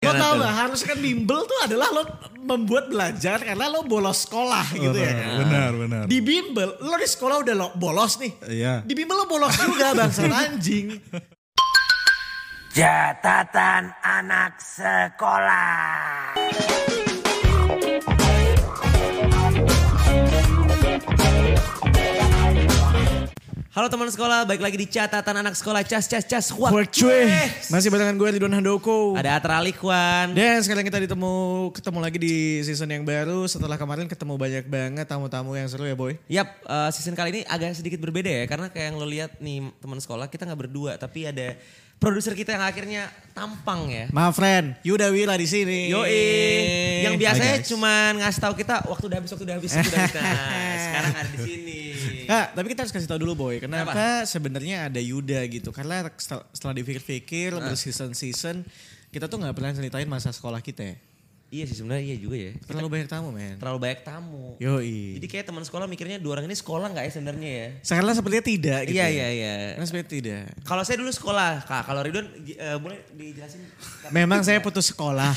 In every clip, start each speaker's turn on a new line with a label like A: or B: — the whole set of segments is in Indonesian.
A: lo
B: gimana
A: tau
B: tuh?
A: gak harus kan bimbel tuh adalah lo membuat belajar karena lo bolos sekolah
C: Oh,
A: gitu
C: nah.
A: ya kan.
C: Ah.
D: Benar, benar.
A: Di bimbel lo di sekolah udah lo bolos nih.
D: Iya.
A: Di bimbel lo bolos juga bangsa anjing.
E: Catatan anak sekolah.
B: Halo teman sekolah, balik lagi di catatan anak sekolah cas cas cas wak.
C: Work cuy. Eh,
A: Eh.
C: Masih barengan gue Ridwan Handoko.
B: Ada Atra Likwan.
C: Dan sekarang kita ditemu ketemu lagi di season yang baru setelah kemarin ketemu banyak banget tamu-tamu yang seru ya boy.
B: Yap, eh, season kali ini agak sedikit berbeda ya karena kayak yang lo lihat nih teman sekolah kita nggak berdua tapi ada produser kita yang akhirnya tampang ya.
C: Maaf friend, Yuda Wira di sini.
B: Yoi, yang biasanya
C: Hai, guys.
B: cuman ngasih tahu kita waktu udah habis, waktu udah habis, waktu udah habis. Nah, sekarang ada di sini.
C: Nah, tapi kita harus kasih tahu dulu boy, kenapa sebenarnya ada Yuda gitu? Karena setel- setelah dipikir-pikir berseason-season, kita tuh nggak pernah ceritain masa sekolah kita. ya.
B: Iya sih sebenarnya iya juga ya.
C: Terlalu banyak tamu men.
B: Terlalu banyak tamu.
C: Yoi.
B: Jadi kayak teman sekolah mikirnya dua orang ini sekolah nggak ya sebenarnya ya?
C: Sekarang sepertinya tidak gitu.
B: Iya
C: ya.
B: iya iya.
C: Karena sepertinya tidak.
B: Kalau saya dulu sekolah, Kak. Kalau Ridwan gi- eh, boleh dijelasin?
C: Memang saya putus sekolah.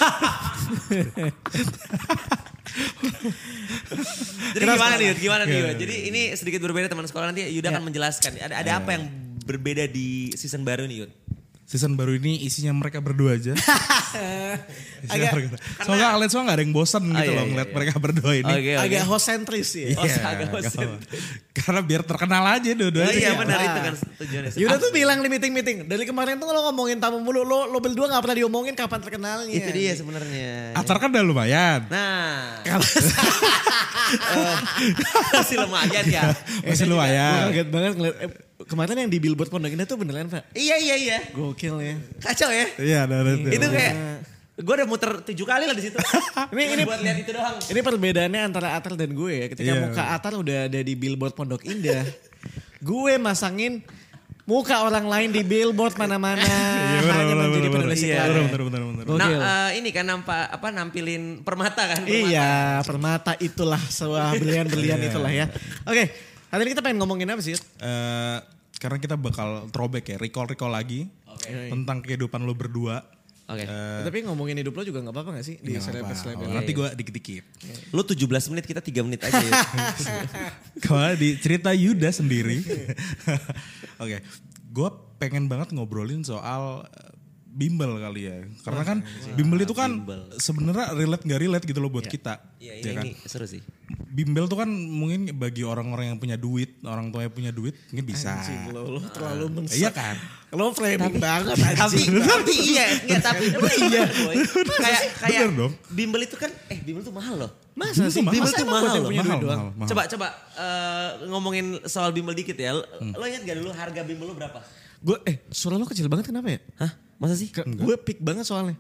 B: Jadi gimana nih? Yud? Gimana nih? Yud? Jadi ini sedikit berbeda teman sekolah nanti Yuda akan menjelaskan. Ada ada apa yang berbeda di season baru nih, Yud?
D: Season baru ini isinya mereka berdua aja. Isinya mereka. Soalnya Alex mah gak ada yang bosen gitu
B: iya,
D: loh
B: iya,
D: ngeliat
B: iya.
D: mereka berdua ini.
C: Agak hosentris ya.
B: Oh,
D: Iya,
B: agak
D: gak
B: bosen.
D: apa-apa. Karena biar terkenal aja
B: Oh,
D: dua-duanya.
B: iya benar itu kan tujuannya.
C: Yuda tuh bilang di meeting-meeting. Dari kemarin tuh lo ngomongin tamu mulu. Lo, lo berdua gak pernah diomongin kapan terkenalnya. Eh,
B: itu dia sebenarnya.
D: Atar kan udah lumayan.
B: Nah, eh, masih lumayan ya.
D: Masih
C: Gue
D: lumayan.
C: kaget banget ngeliat. eh, kemarin yang di billboard Pondok Indah tuh beneran pak.
B: Iya iya iya.
C: Gokil ya.
B: Kacau ya.
D: Iya, ada ada- ada.
B: Itu kayak gue udah muter tujuh kali lah di situ.
C: Ini- ini-
B: buat lihat itu doang.
C: Ini perbedaannya antara Atar dan gue ya. Ketika
D: Iya.
C: muka Atar udah ada di billboard Pondok Indah. gue masangin muka orang lain di billboard mana-mana.
D: Iya, benar,
C: Hanya
D: benar,
C: menjadi
D: benar,
C: penulis
D: benar. Iya,
C: iklan.
D: Benar, benar, benar, benar.
C: Gokil.
B: Nah, eh, ini kan nampak apa nampilin permata kan? permata.
C: Iya, permata itulah sebuah belian-belian
D: Iya.
C: itulah ya. Oke, hari ini kita pengen ngomongin apa sih? Yud?
D: Eh, karena kita bakal throwback ya, recall-recall lagi tentang kehidupan lo berdua.
B: Oke.
D: Eh.
C: Tapi ngomongin hidup lo juga gak apa-apa gak sih? Di
D: Apa? Oh,
C: selebes-selebes.
D: Nanti gue dikit-dikit.
B: Lu 17 menit kita 3 menit aja ya.
D: Kemarin di cerita Yuda sendiri. Oke, gue pengen banget ngobrolin soal eh, bimbel kali ya. Karena kan bimbel itu kan sebenarnya relate nggak relate gitu loh buat kita.
B: Iya, Iya ini,
D: ya kan?
B: ini seru sih.
D: Bimbel tuh kan mungkin bagi orang-orang yang punya duit, orang tua yang punya duit, mungkin bisa.
C: Lo, lo terlalu mensa.
D: Iya kan?
C: Lo framing banget
B: Tapi,
C: anjing.
B: tapi iya, enggak tapi emang iya. boy. Kayak kayak
D: Bener dong.
B: bimbel itu kan eh bimbel tuh mahal loh.
C: Masa sih?
B: Bimbel
C: Masa
B: tuh
C: emang buat
B: mahal
C: yang
B: loh.
C: punya
D: mahal,
C: duit doang?
D: mahal, mahal.
B: Coba coba eh, ngomongin soal bimbel dikit ya. Lo- Lo ingat gak dulu harga bimbel lo berapa?
C: Gue, eh suara lo kecil banget kenapa ya?
B: Hah? Masa sih?
C: Ke- Gue pick banget soalnya.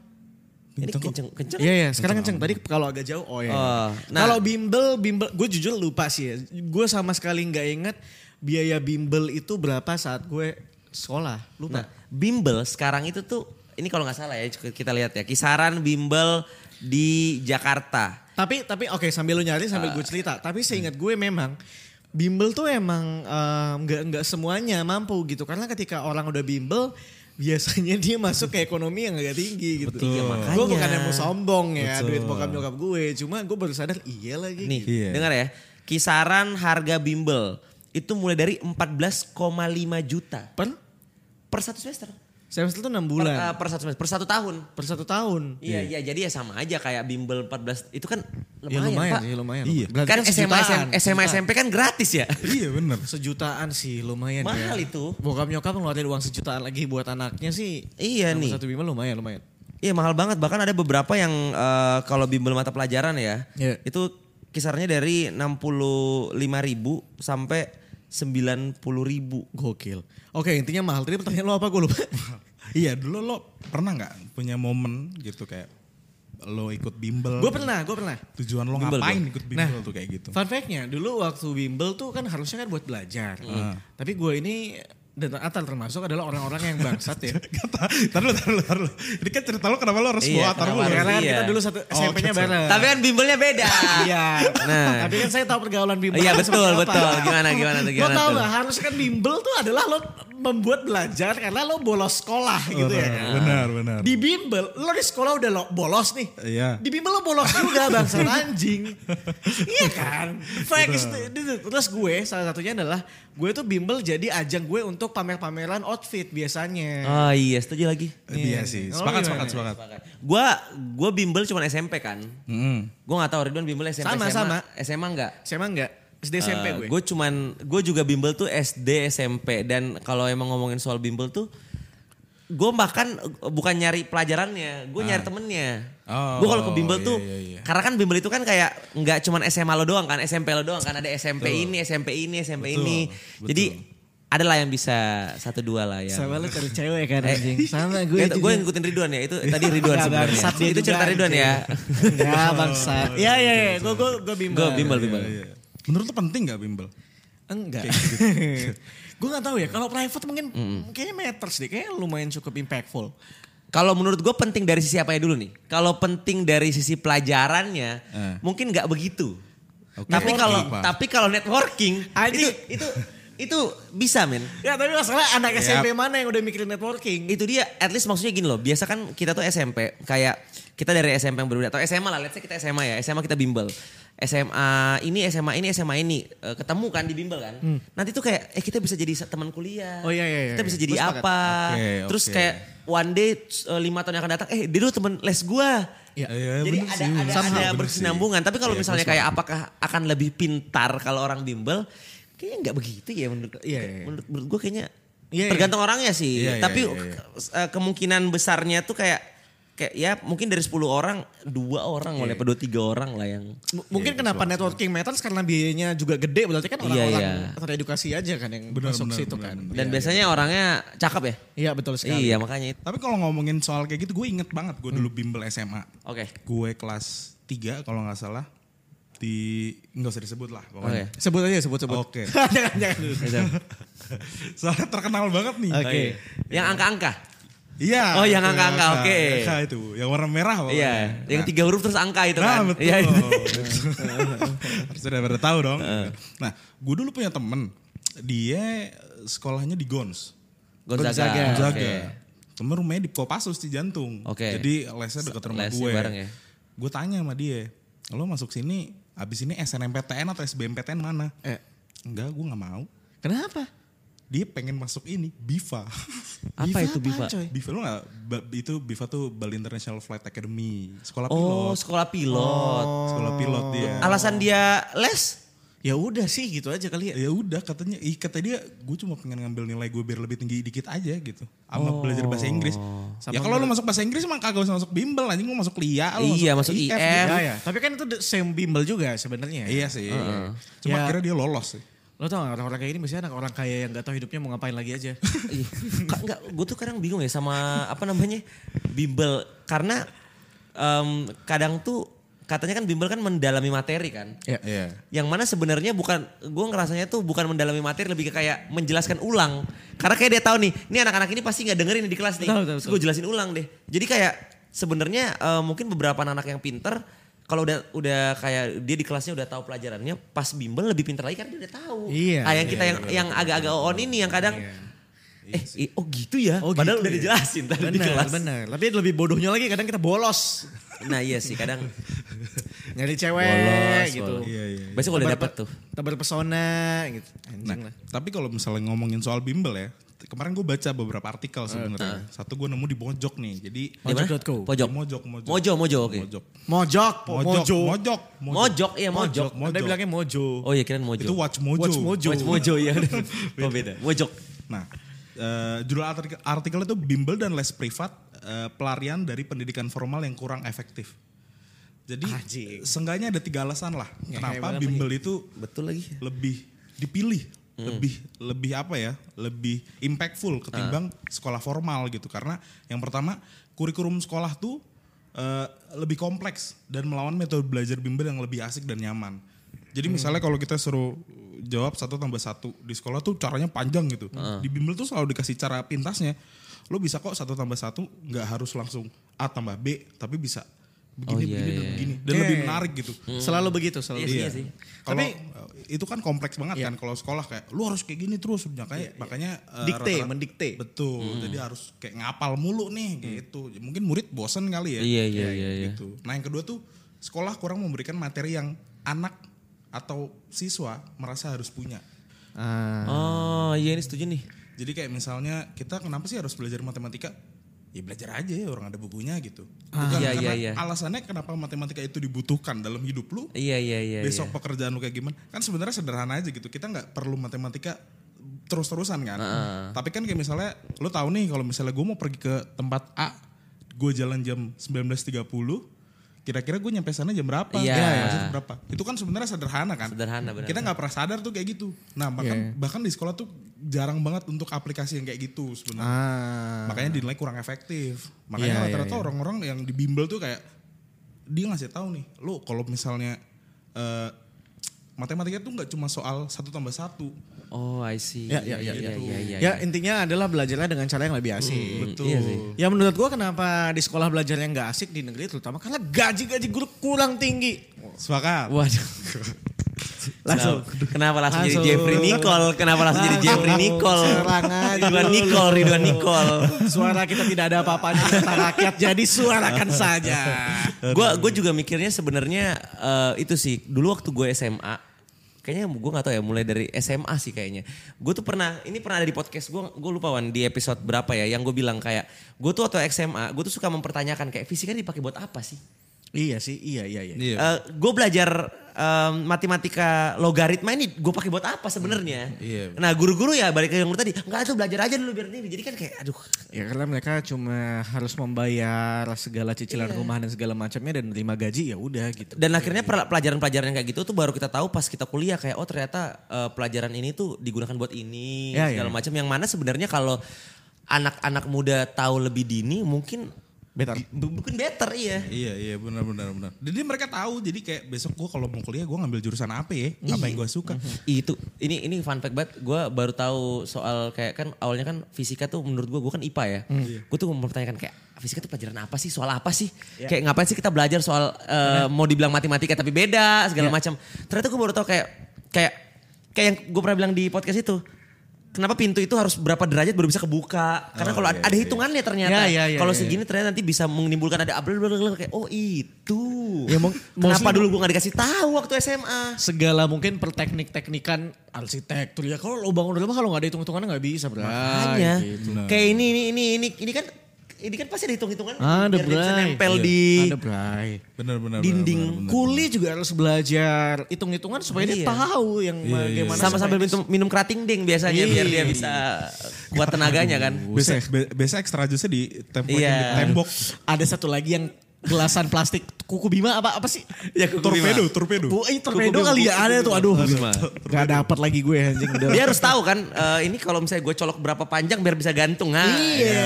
B: Ini kenceng kenceng.
C: Iya, iya. Sekarang kenceng. Tadi kalau agak jauh, oh iya.
B: Oh, nah.
C: Kalau bimbel, bimbel. Gue jujur lupa sih ya. Gue sama sekali gak inget biaya bimbel itu berapa saat gue sekolah. Lupa.
B: Nah, bimbel sekarang itu tuh ini kalau nggak salah ya kita lihat ya kisaran bimbel di Jakarta.
C: Tapi tapi oke sambil lu nyari sambil
B: Ah.
C: gue cerita. Tapi seingat gue memang bimbel tuh emang em, nggak nggak semuanya mampu gitu. Karena ketika orang udah bimbel biasanya dia masuk ke ekonomi yang agak tinggi gitu.
B: Betul. Iya, makanya.
C: Gue bukan yang mau sombong ya
D: Betul.
C: duit bokap nyokap gue. Cuma gue baru sadar iya lagi.
B: Nih,
D: Iya.
B: dengar ya. Kisaran harga bimbel itu mulai dari 14,5 juta
C: Per
B: per satu semester.
C: semester tuh 6
B: Per,
C: bulan.
B: eh, per satu semester, per satu tahun.
C: per satu tahun.
B: Iya, iya, jadi ya sama aja kayak bimbel 14 itu kan
C: Ya
B: lumayan,
C: lumayan,
B: Pak.
C: ya lumayan.
D: Iya.
C: Berarti
B: Kan SMA,
C: sejutaan.
B: SMA SMP kan gratis ya.
D: Iya bener.
C: Sejutaan sih lumayan
B: Mahal
C: ya.
B: itu.
C: Bokap nyokap ngeluarin uang sejutaan lagi buat anaknya sih.
B: Iya nih.
C: Satu bimbel lumayan lumayan.
B: Iya mahal banget bahkan ada beberapa yang eh, kalau bimbel mata pelajaran ya
C: Iya.
B: itu kisarannya dari 65.000 sampai 90.000.
C: Gokil. Oke intinya mahal. Tadi pertanyaan lo apa gue lupa.
D: Iya dulu lo pernah nggak punya momen gitu kayak lo ikut bimbel?
C: gue pernah, gue pernah.
D: Tujuan lo
B: Bimbel
D: ngapain
B: gua. Nah.
D: ikut bimbel tuh kayak gitu?
C: Fun fact-nya dulu waktu bimbel tuh kan harusnya kan buat belajar.
B: Iya.
C: Tapi gue ini dan Atal termasuk adalah orang-orang yang bangsat ya.
D: Kata, tar dulu, tar dulu, tar dulu. Ini kan cerita lo kenapa lo harus
B: Iya,
D: bawa tar
B: kenapa
D: dulu.
B: harus-
C: Karena kan
B: Iya.
C: kita dulu satu SMP-nya bareng.
B: Tapi kan bimbelnya beda.
C: Iya.
B: Nah.
C: Tapi kan saya tahu pergaulan bimbel.
B: Iya
C: itu
B: betul
C: seperti apa.
B: betul. Gimana gimana tuh
C: Lo
B: gimana
C: tau
B: tuh?
C: gak harusnya kan bimbel tuh adalah lo
A: membuat belajar karena lo bolos sekolah
B: Oh,
A: gitu ya kan.
D: Benar, benar.
A: Di bimbel, lo di sekolah udah lo bolos nih.
D: Iya.
A: Di bimbel lo bolos juga bangsa anjing. iya kan? Facts. Terus gue salah satunya adalah gue tuh bimbel jadi ajang gue untuk pamer-pameran outfit biasanya.
B: Ah iya setuju lagi.
D: Eh, Iya sih.
A: Kalau
D: Sepakat,
A: gimana?
D: sepakat, sepakat.
B: iya. Gua gua bimbel cuma SMP kan.
D: Mm.
B: Gua nggak tahu Ridwan bimbel SMP
C: Sama,
B: SMA.
C: sama.
B: SMA enggak?
C: Saya emang enggak SD SMP gue.
B: Eh, Gue cuman gue juga bimbel tuh SD SMP dan kalau emang ngomongin soal bimbel tuh gue bahkan eh, bukan nyari pelajarannya, gue nyari temennya.
D: Ah. Oh,
B: gue kalau ke bimbel
D: iya,
B: tuh,
D: iya, iya.
B: karena kan bimbel itu kan kayak nggak cuman SMA lo doang kan, SMP lo doang kan ada SMP
D: Betul.
B: ini, SMP ini, SMP
D: Betul,
B: ini.
D: betul.
B: Jadi adalah yang bisa satu dua lah ya.
C: Sama lu cari cewek kan
B: Eh,
C: anjing. Sama gue.
B: Gue, gue ngikutin Ridwan ya itu tadi Ridwan
C: Nggak
B: sebenarnya.
C: bangsat dia
B: Itu
C: juga,
B: cerita Ridwan
C: anjing.
B: ya.
C: Enggak bangsat. Iya iya iya, gue gue gue bimbel.
B: Gue bimbel bimbel.
D: Iya. Menurut lu penting gak bimbel?
C: Enggak.
D: gitu.
C: gue nggak tahu ya. Kalau private mungkin kayaknya matters deh. Kayaknya lumayan cukup impactful.
B: Kalau menurut gue penting dari sisi apanya dulu nih? Kalau penting dari sisi pelajarannya,
D: Eh.
B: mungkin nggak begitu.
D: Oke.
B: Tapi
D: Networking
B: kalau
D: apa?
B: tapi kalau networking itu
C: Anjing.
B: itu itu bisa men.
C: Ya tapi masalah anak
D: Yap.
C: SMP mana yang udah mikirin networking?
B: Itu dia at least maksudnya gini loh. Biasa kan kita tuh SMP kayak kita dari SMP yang berbeda atau SMA lah. Let's say kita SMA ya. SMA kita bimbel. SMA ini, SMA ini, SMA ini Eh, ketemu kan di bimbel kan. Nanti tuh kayak eh kita bisa jadi sa- teman kuliah.
C: Hmm. Oh, iya, iya, iya.
B: Kita bisa
C: Gue
B: jadi
C: sepakat.
B: apa?
D: Oke,
B: Terus
D: oke.
B: kayak one day eh, lima tahun yang akan datang eh dia dulu temen les gua.
C: Ya.
D: Iya,
B: Jadi ada ada,
D: Somehow,
B: ada
D: bener
B: berkesinambungan.
D: sih.
B: Tapi kalau
D: Iya,
B: misalnya
D: gua
B: kayak apakah akan lebih pintar kalau orang bimbel? Kayaknya nggak begitu ya menurut
C: Iya, iya, iya.
B: menurut, menurut gue kayaknya
C: Iya, iya.
B: tergantung orangnya sih.
D: Iya, iya,
B: Tapi
D: iya, iya.
B: ke- eh, kemungkinan besarnya tuh kayak kayak ya mungkin dari 10 orang dua orang oleh dua tiga orang lah yang
C: M-
D: Iya,
C: mungkin kenapa networking matters karena biayanya juga gede berarti kan orang-orang
B: iya.
C: teredukasi aja kan yang
D: Benar,
C: masuk
D: benar,
C: situ
D: benar,
C: kan.
D: benar.
B: dan biasanya orangnya cakep ya.
C: Iya betul sekali.
B: Iya makanya itu.
D: Tapi kalau ngomongin soal kayak gitu gue inget banget gue dulu bimbel SMA.
B: Oke.
D: Gue kelas 3 kalau nggak salah di nggak usah disebut lah pokoknya.
C: Sebut aja sebut sebut.
D: Oke.
C: jangan jangan.
D: Soalnya terkenal banget nih.
C: Oke.
B: Iya. Yang angka-angka.
D: Iya.
B: Oh, yang angka-angka, oke.
D: angka itu yang warna merah. pokoknya.
B: Iya, yang
D: Nah,
B: tiga huruf terus angka itu
D: Nah
B: kan.
D: betul.
B: Iya, itu.
D: Harus udah pada tahu dong.
B: Eh.
D: Nah gue dulu punya temen. Dia sekolahnya di Gons.
B: Gonzaga.
C: Gonzaga.
D: Gonzaga.
B: Oke.
D: Temen rumahnya di Kopassus di Jantung.
B: Oke.
D: Jadi lesnya deket rumah
B: Lesnya
D: gue.
B: bareng ya.
D: Gue tanya sama dia, lo masuk sini abis ini SNMPTN atau SBMPTN mana?
C: Eh.
D: Enggak, gue nggak mau.
C: Kenapa?
D: Dia pengen masuk ini, BIFA.
B: Apa itu Biva?
C: apaan, coy?
D: BIFA lo gak, itu BIFA tuh Bali International Flight Academy. Sekolah
B: Oh,
D: pilot. Oh.
B: sekolah pilot.
D: Sekolah pilot dia.
B: Alasan dia les?
C: Ya udah sih gitu aja kali ya.
D: ya udah katanya ih kata dia gue cuma pengen ngambil nilai gue biar lebih tinggi dikit aja gitu sama belajar bahasa Inggris ya kalau lu masuk bahasa Inggris mah kagak usah masuk bimbel anjing lu masuk LIA lu
B: Iya, masuk IF.
C: Ya, ya. Tapi kan itu the same bimbel juga sebenarnya.
D: iya sih
C: Ya.
D: cuma akhirnya dia lolos sih
C: Lo tau gak orang-orang kayak gini biasanya anak orang kaya yang gak tau hidupnya mau ngapain lagi aja.
B: Iya. Ka- Enggak, gue tuh kadang bingung ya sama apa namanya bimbel karena em, kadang tuh katanya kan bimbel kan mendalami materi kan.
C: Ya.
D: Iya.
B: Yang mana sebenarnya bukan gue ngerasanya tuh bukan mendalami materi lebih ke kayak menjelaskan ulang. Karena kayak dia tahu nih, ini anak-anak ini pasti nggak dengerin di kelas nih.
C: Betul, betul,
B: gue jelasin ulang deh. Jadi kayak sebenarnya eh, mungkin beberapa anak yang pinter kalau udah udah kayak dia di kelasnya udah tahu pelajarannya, pas bimbel lebih pinter lagi kan dia udah tahu.
C: Iya.
B: Ah, yang kita yang yang agak-agak on ini yang kadang eh, eh, oh gitu
C: Iya
B: ya.
C: Oh,
B: Padahal
C: gitu
B: udah
C: ya.
B: dijelasin tadi di
C: Benar,
B: kelas.
C: benar. Tapi lebih bodohnya lagi kadang kita bolos.
B: Nah, iya sih kadang
C: Nyari cewek
B: bolos
C: gitu.
B: bolos.
D: Iya, iya, iya.
B: Besok udah
C: Tebar
B: dapet
C: pe-
B: tuh.
C: Tebar pesona gitu.
D: nah
C: Anjing lah.
D: tapi kalau misalnya ngomongin soal bimbel ya t- kemarin gue baca beberapa artikel sebenarnya satu gue nemu di Mojok nih jadi
B: Di mana?
C: Mojok.co.
B: Pojok.
D: Di Mojok Mojok
B: Mojo, Mojo, oke.
D: Mojok
C: Oh, Mojok, po-
D: Mojok
C: mojo.
D: Mojok
B: Mojok, iya Mojok.
D: Mojok.
C: Anda bilangnya mojo.
B: Oh iya kirain Mojo.
D: itu Watch Mojo
C: Watch Mojo.
B: Watch Mojo ya. Oh beda. Mojok.
D: Nah, eh, judul artikel, artikel itu bimbel dan les privat eh, pelarian dari pendidikan formal yang kurang efektif. Jadi
C: Anjing.
D: seenggaknya ada tiga alasan lah kenapa bimbel itu
B: Betul lagi.
D: lebih dipilih,
B: Hmm.
D: lebih lebih apa ya, lebih impactful ketimbang
B: Ah.
D: sekolah formal gitu. Karena yang pertama kurikulum sekolah tuh eh, lebih kompleks dan melawan metode belajar bimbel yang lebih asik dan nyaman. Jadi misalnya kalau kita suruh jawab satu tambah satu di sekolah tuh caranya panjang gitu.
B: Ah.
D: Di bimbel tuh selalu dikasih cara pintasnya. Lo bisa kok satu tambah satu nggak harus langsung a tambah b, tapi bisa
C: begini
B: iya,
C: begini
B: iya.
C: dan begini
D: Dan lebih menarik gitu.
C: selalu begitu selalu
B: Iya,
C: begitu.
B: iya sih. Iya.
D: Kalau
C: Tapi-
D: eh, itu kan kompleks banget kan kalau sekolah kayak lu harus kayak gini terus makanya makanya eh,
C: Dikte,
D: rata-rata-
C: mendikte.
D: Betul.
B: Hmm.
D: Jadi harus kayak ngapal mulu nih gitu. Mungkin murid bosen kali ya.
B: Iya, iya, iya,
D: Kayak
B: iya.
D: Gitu. Nah, yang kedua tuh sekolah kurang memberikan materi yang anak atau siswa merasa harus punya.
C: Ah,
B: Oh iya ini setuju nih.
D: Jadi kayak misalnya kita kenapa sih harus belajar matematika? Ya belajar aja ya orang ada bukunya gitu. Bukan
B: Iya,
D: karena
B: iya, iya.
D: alasannya kenapa matematika itu dibutuhkan dalam hidup lu
B: Iya iya iya.
D: besok pekerjaan lu kayak gimana kan sebenarnya sederhana aja gitu kita nggak perlu matematika terus-terusan kan tapi kan kayak misalnya lu tahu nih kalau misalnya gue mau pergi ke tempat A gue jalan jam 19.30 kira-kira gue nyampe sana jam berapa
B: Iya.
D: Ya, masih jam berapa itu kan sebenarnya sederhana kan
B: Sederhana, benar.
D: kita nggak pernah sadar tuh kayak gitu nah bahkan bahkan di sekolah tuh jarang banget untuk aplikasi yang kayak gitu sebenarnya
C: ah.
D: makanya dinilai kurang efektif
C: Iya,
D: makanya
C: iya,
D: rata-rata orang-orang yang di bimbel tuh kayak dia ngasih tahu nih lo kalau misalnya eh, matematika tuh nggak cuma soal satu tambah satu
B: iya. Oh I see.
C: Ya, ya, ya,
B: iya
C: ya,
B: iya iya.
C: ya intinya adalah belajarnya dengan cara yang lebih asik.
D: betul
B: iya sih.
C: Ya menurut gua kenapa di sekolah belajarnya nggak asik di negeri terutama karena gaji-gaji guru kurang tinggi.
D: sepakat
B: Waduh.
C: Langsung.
B: Kenapa- Kenapa langsung,
C: Langsung.
B: jadi Jeffrey Nicole? Kenapa langsung jadi Jeffrey
C: Langsung.
B: Nicole?
C: Serang aja
B: Ridwan
C: dulu.
B: Nicole, Ridwan Nicole.
C: Suara kita tidak ada apa-apanya kata rakyat jadi suarakan saja.
B: Gue gue juga mikirnya sebenarnya eh, itu sih dulu waktu gue SMA kayaknya gue nggak tahu ya mulai dari SMA sih kayaknya gue tuh pernah ini pernah ada di podcast gue gue lupa wan di episode berapa ya yang gue bilang kayak gue tuh waktu SMA gue tuh suka mempertanyakan kayak fisika dipakai buat apa sih
C: Iya sih, iya iya iya.
B: gue belajar em, matematika logaritma ini gue pakai buat apa sebenarnya?
D: iya.
B: Nah guru-guru ya balik ke yang lu tadi, enggak tuh belajar aja dulu biar ini. Jadi kan kayak aduh.
C: Ya karena mereka cuma harus membayar segala cicilan
B: Iya.
C: rumah dan segala macamnya dan terima gaji ya udah gitu.
B: Dan akhirnya pel- pelajaran-pelajaran yang kayak gitu tuh baru kita tahu pas kita kuliah kayak oh ternyata eh, pelajaran ini tuh digunakan buat ini
C: Ya,
B: segala
C: ya.
B: macam yang mana sebenarnya kalau anak-anak muda tahu lebih dini mungkin
C: Better.
B: b- mungkin better iya.
D: iya iya benar benar benar jadi mereka tahu jadi kayak besok gue kalau mau kuliah gue ngambil jurusan apa ya apa yang gue suka
B: itu ini ini fun fact banget gue baru tahu soal kayak kan awalnya kan fisika tuh menurut gue gue kan ipa ya
C: Iya.
B: gue tuh mempertanyakan kayak fisika tuh pelajaran apa sih soal apa sih
C: Iya.
B: kayak ngapain sih kita belajar soal eh, mau dibilang matematika tapi beda
C: Iya.
B: segala macam ternyata gue baru tahu kayak kayak kayak yang gue pernah bilang di podcast itu Kenapa pintu itu harus berapa derajat baru bisa kebuka?
C: Oh,
B: Karena kalau ada-
C: iya,
B: ada hitungannya
C: Ya,
B: ternyata.
C: ya, ya,
B: kalau
C: ya,
B: segini ternyata nanti bisa menimbulkan ada abel kayak oh itu.
C: Ya, mung-
B: Kenapa
C: mostly-
B: dulu gue nggak dikasih tahu waktu SMA?
C: Segala mungkin perteknik-teknikan arsitektur ya. Kalau lo bangun rumah kalau nggak ada hitung-hitungannya nggak bisa bro.
B: Makanya
C: Gitu.
B: kayak ini ini ini ini ini kan ini kan pasti ada hitung-hitungan
C: Ah, Ada
B: biar dia bisa
C: bray.
B: nempel
C: Iya.
B: di
C: Ada bray.
D: benar benar
B: Dinding
C: Kuli juga harus belajar hitung-hitungan supaya dia
B: Iya.
C: tahu yang bagaimana.
B: sama sambil
C: supaya-
B: minum, minum kerating ding biasanya biar dia bisa kuat tenaganya kan.
D: biasa be- biasa ekstra jusnya di tempat
B: Iya.
D: di tembok
C: Ada satu lagi yang gelasan plastik kuku bima apa apa sih?
B: Ya kuku bima.
D: torpedo torpedo
C: Bu, eh, torpedo kali ya ada tuh aduh. Gak dapat lagi gue anjing udah.
B: Dia harus tahu kan eh, ini kalau misalnya gue colok berapa panjang biar bisa gantung. Ha. Iya.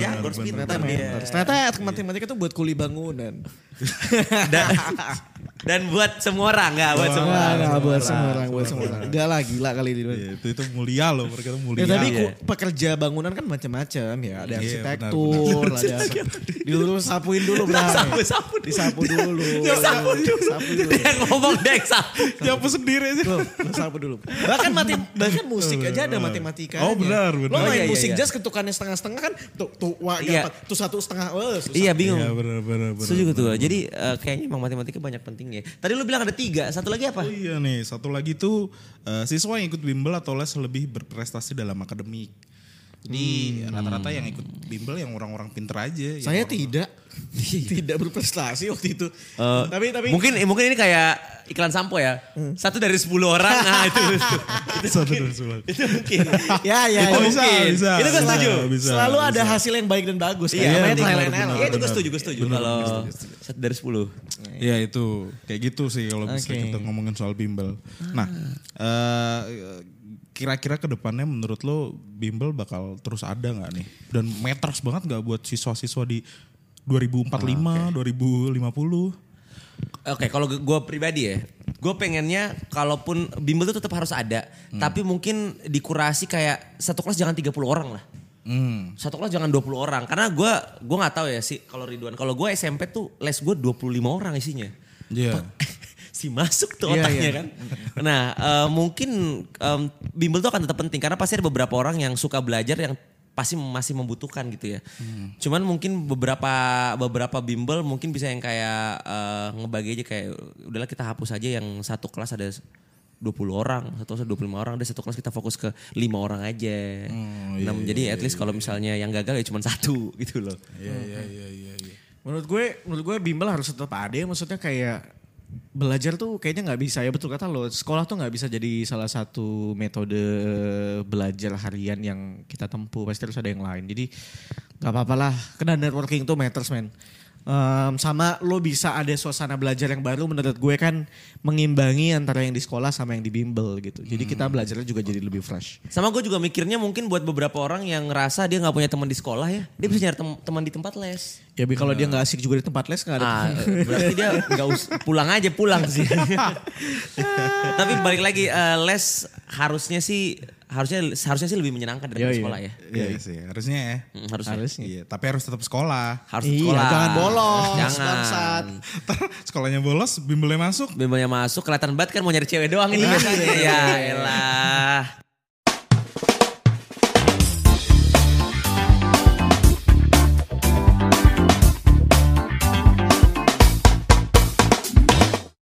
B: Ya, gue harus pintar dia.
C: Ternyata matematika tuh buat kuli bangunan.
B: Dan, dan buat semua orang nggak buat semua
C: Enggak,
B: orang.
C: enggak, buat semua orang, buat semua orang. Enggak lah, gila kali ini.
D: Iya, itu itu mulia loh mereka tuh mulia
C: Ya tapi
B: Iya.
C: ku- pekerja bangunan kan macam-macam ya. Ada
D: Iya,
C: arsitektur, ada dulu sapuin dulu bro.
B: Sapu sapu
C: Disapu dulu.
B: Sapu dulu.
C: Sapu dulu.
B: Dia ngomong dia yang sapu.
D: nyapu sendiri aja
C: Loh, lu sapu dulu. Bahkan mati, bahkan musik aja ada matematikanya.
D: Oh, benar, benar.
C: Lo
B: Oh,
C: main
B: iya, iya,
C: musik
B: iya.
C: jazz ketukannya setengah-setengah kan tuh tuh wah
B: Iya.
C: dapat tuh satu setengah. Oh,
B: Iya bingung.
D: Iya benar benar benar.
B: Setuju gue tuh. Jadi eh, kayaknya emang matematika banyak pentingnya. Tadi lu bilang ada tiga, satu lagi apa?
D: Oh iya nih, satu lagi tuh eh, siswa yang ikut bimbel atau les lebih berprestasi dalam akademik. Jadi
C: Hmm.
D: rata-rata yang ikut bimbel yang orang-orang pinter aja.
B: Iya.
D: yang
C: Saya
D: orang-
C: tidak tidak berprestasi waktu itu.
B: Eh,
C: tapi tapi
B: mungkin eh, mungkin ini kayak iklan sampo ya. Satu dari sepuluh orang. Nah itu
D: Satu dari sepuluh.
B: itu mungkin.
C: ya ya.
D: Itu
C: ya.
D: bisa,
C: Mungkin.
D: bisa,
C: Itu gue
D: bisa,
C: setuju.
D: bisa,
C: Selalu
D: bisa.
C: ada hasil yang baik dan bagus.
B: Iya,
C: Namanya
B: benar,
C: trial
B: benar,
C: and error.
B: Iya, itu gue setuju, gue setuju. Kalau satu dari sepuluh.
D: Iya itu kayak gitu sih kalau bisa kita ngomongin soal bimbel.
C: Ah.
D: Nah, eh, kira-kira ke depannya menurut lo bimbel bakal terus ada nggak nih? Dan meters banget nggak buat siswa-siswa di 2045, 2050?
B: Oke, kalau gue pribadi ya, gue pengennya kalaupun bimbel itu tetap harus ada, tapi mungkin dikurasi kayak satu kelas jangan 30 orang lah.
D: Hmm.
B: Satu kelas jangan 20 orang karena gua gua nggak tahu ya sih kalau Ridwan. Kalau gua SMP tuh les gua 25 orang isinya.
D: Iya.
B: si masuk tuh
C: Iya,
B: otaknya
C: iya.
B: kan. Nah, eh, mungkin em, bimbel tuh akan tetap penting karena pasti ada beberapa orang yang suka belajar yang pasti masih membutuhkan gitu ya.
C: Hmm.
B: Cuman mungkin beberapa beberapa bimbel mungkin bisa yang kayak eh, ngebagi aja kayak udahlah kita hapus aja yang satu kelas ada 20 orang, satu kelas ada 25 orang, ada satu kelas kita fokus ke lima orang aja.
C: Oh, iya,
B: nah, jadi at least kalau misalnya yang gagal ya cuma satu gitu loh.
D: Iya, iya, iya, iya, iya.
C: Menurut gue, menurut gue bimbel harus tetap ada. ya, Maksudnya kayak belajar tuh kayaknya nggak bisa ya betul kata lo. Sekolah tuh nggak bisa jadi salah satu metode eh, belajar harian yang kita tempuh. Pasti harus ada yang lain. Jadi nggak apa-apa lah. Karena networking tuh matters man. Em, sama lo bisa ada suasana belajar yang baru menurut gue kan mengimbangi antara yang di sekolah sama yang di bimbel gitu. Jadi kita
B: Hmm.
C: belajarnya juga jadi lebih fresh.
B: Sama gue juga mikirnya mungkin buat beberapa orang yang ngerasa dia nggak punya teman di sekolah ya, dia bisa nyari tem- teman di tempat les.
C: Ya bi- kalau dia nggak asik juga di tempat les nggak ada.
B: Ah, eh, berarti dia nggak us- pulang aja pulang sih. Tapi balik lagi eh, les harusnya sih harusnya harusnya sih lebih menyenangkan
C: Iya,
B: daripada
C: iya.
B: sekolah ya.
D: Iya sih, harusnya ya.
B: Hmm, harusnya.
C: Harusnya.
D: Iya, tapi harus tetap sekolah.
B: Harus
C: Iya,
B: sekolah.
C: jangan bolos,
B: Jangan.
C: bangsat.
D: Ntar sekolahnya bolos, bimbelnya masuk.
C: Iya.
B: Bimbelnya masuk kelihatan banget kan mau nyari cewek doang ini biasanya. Ya elah.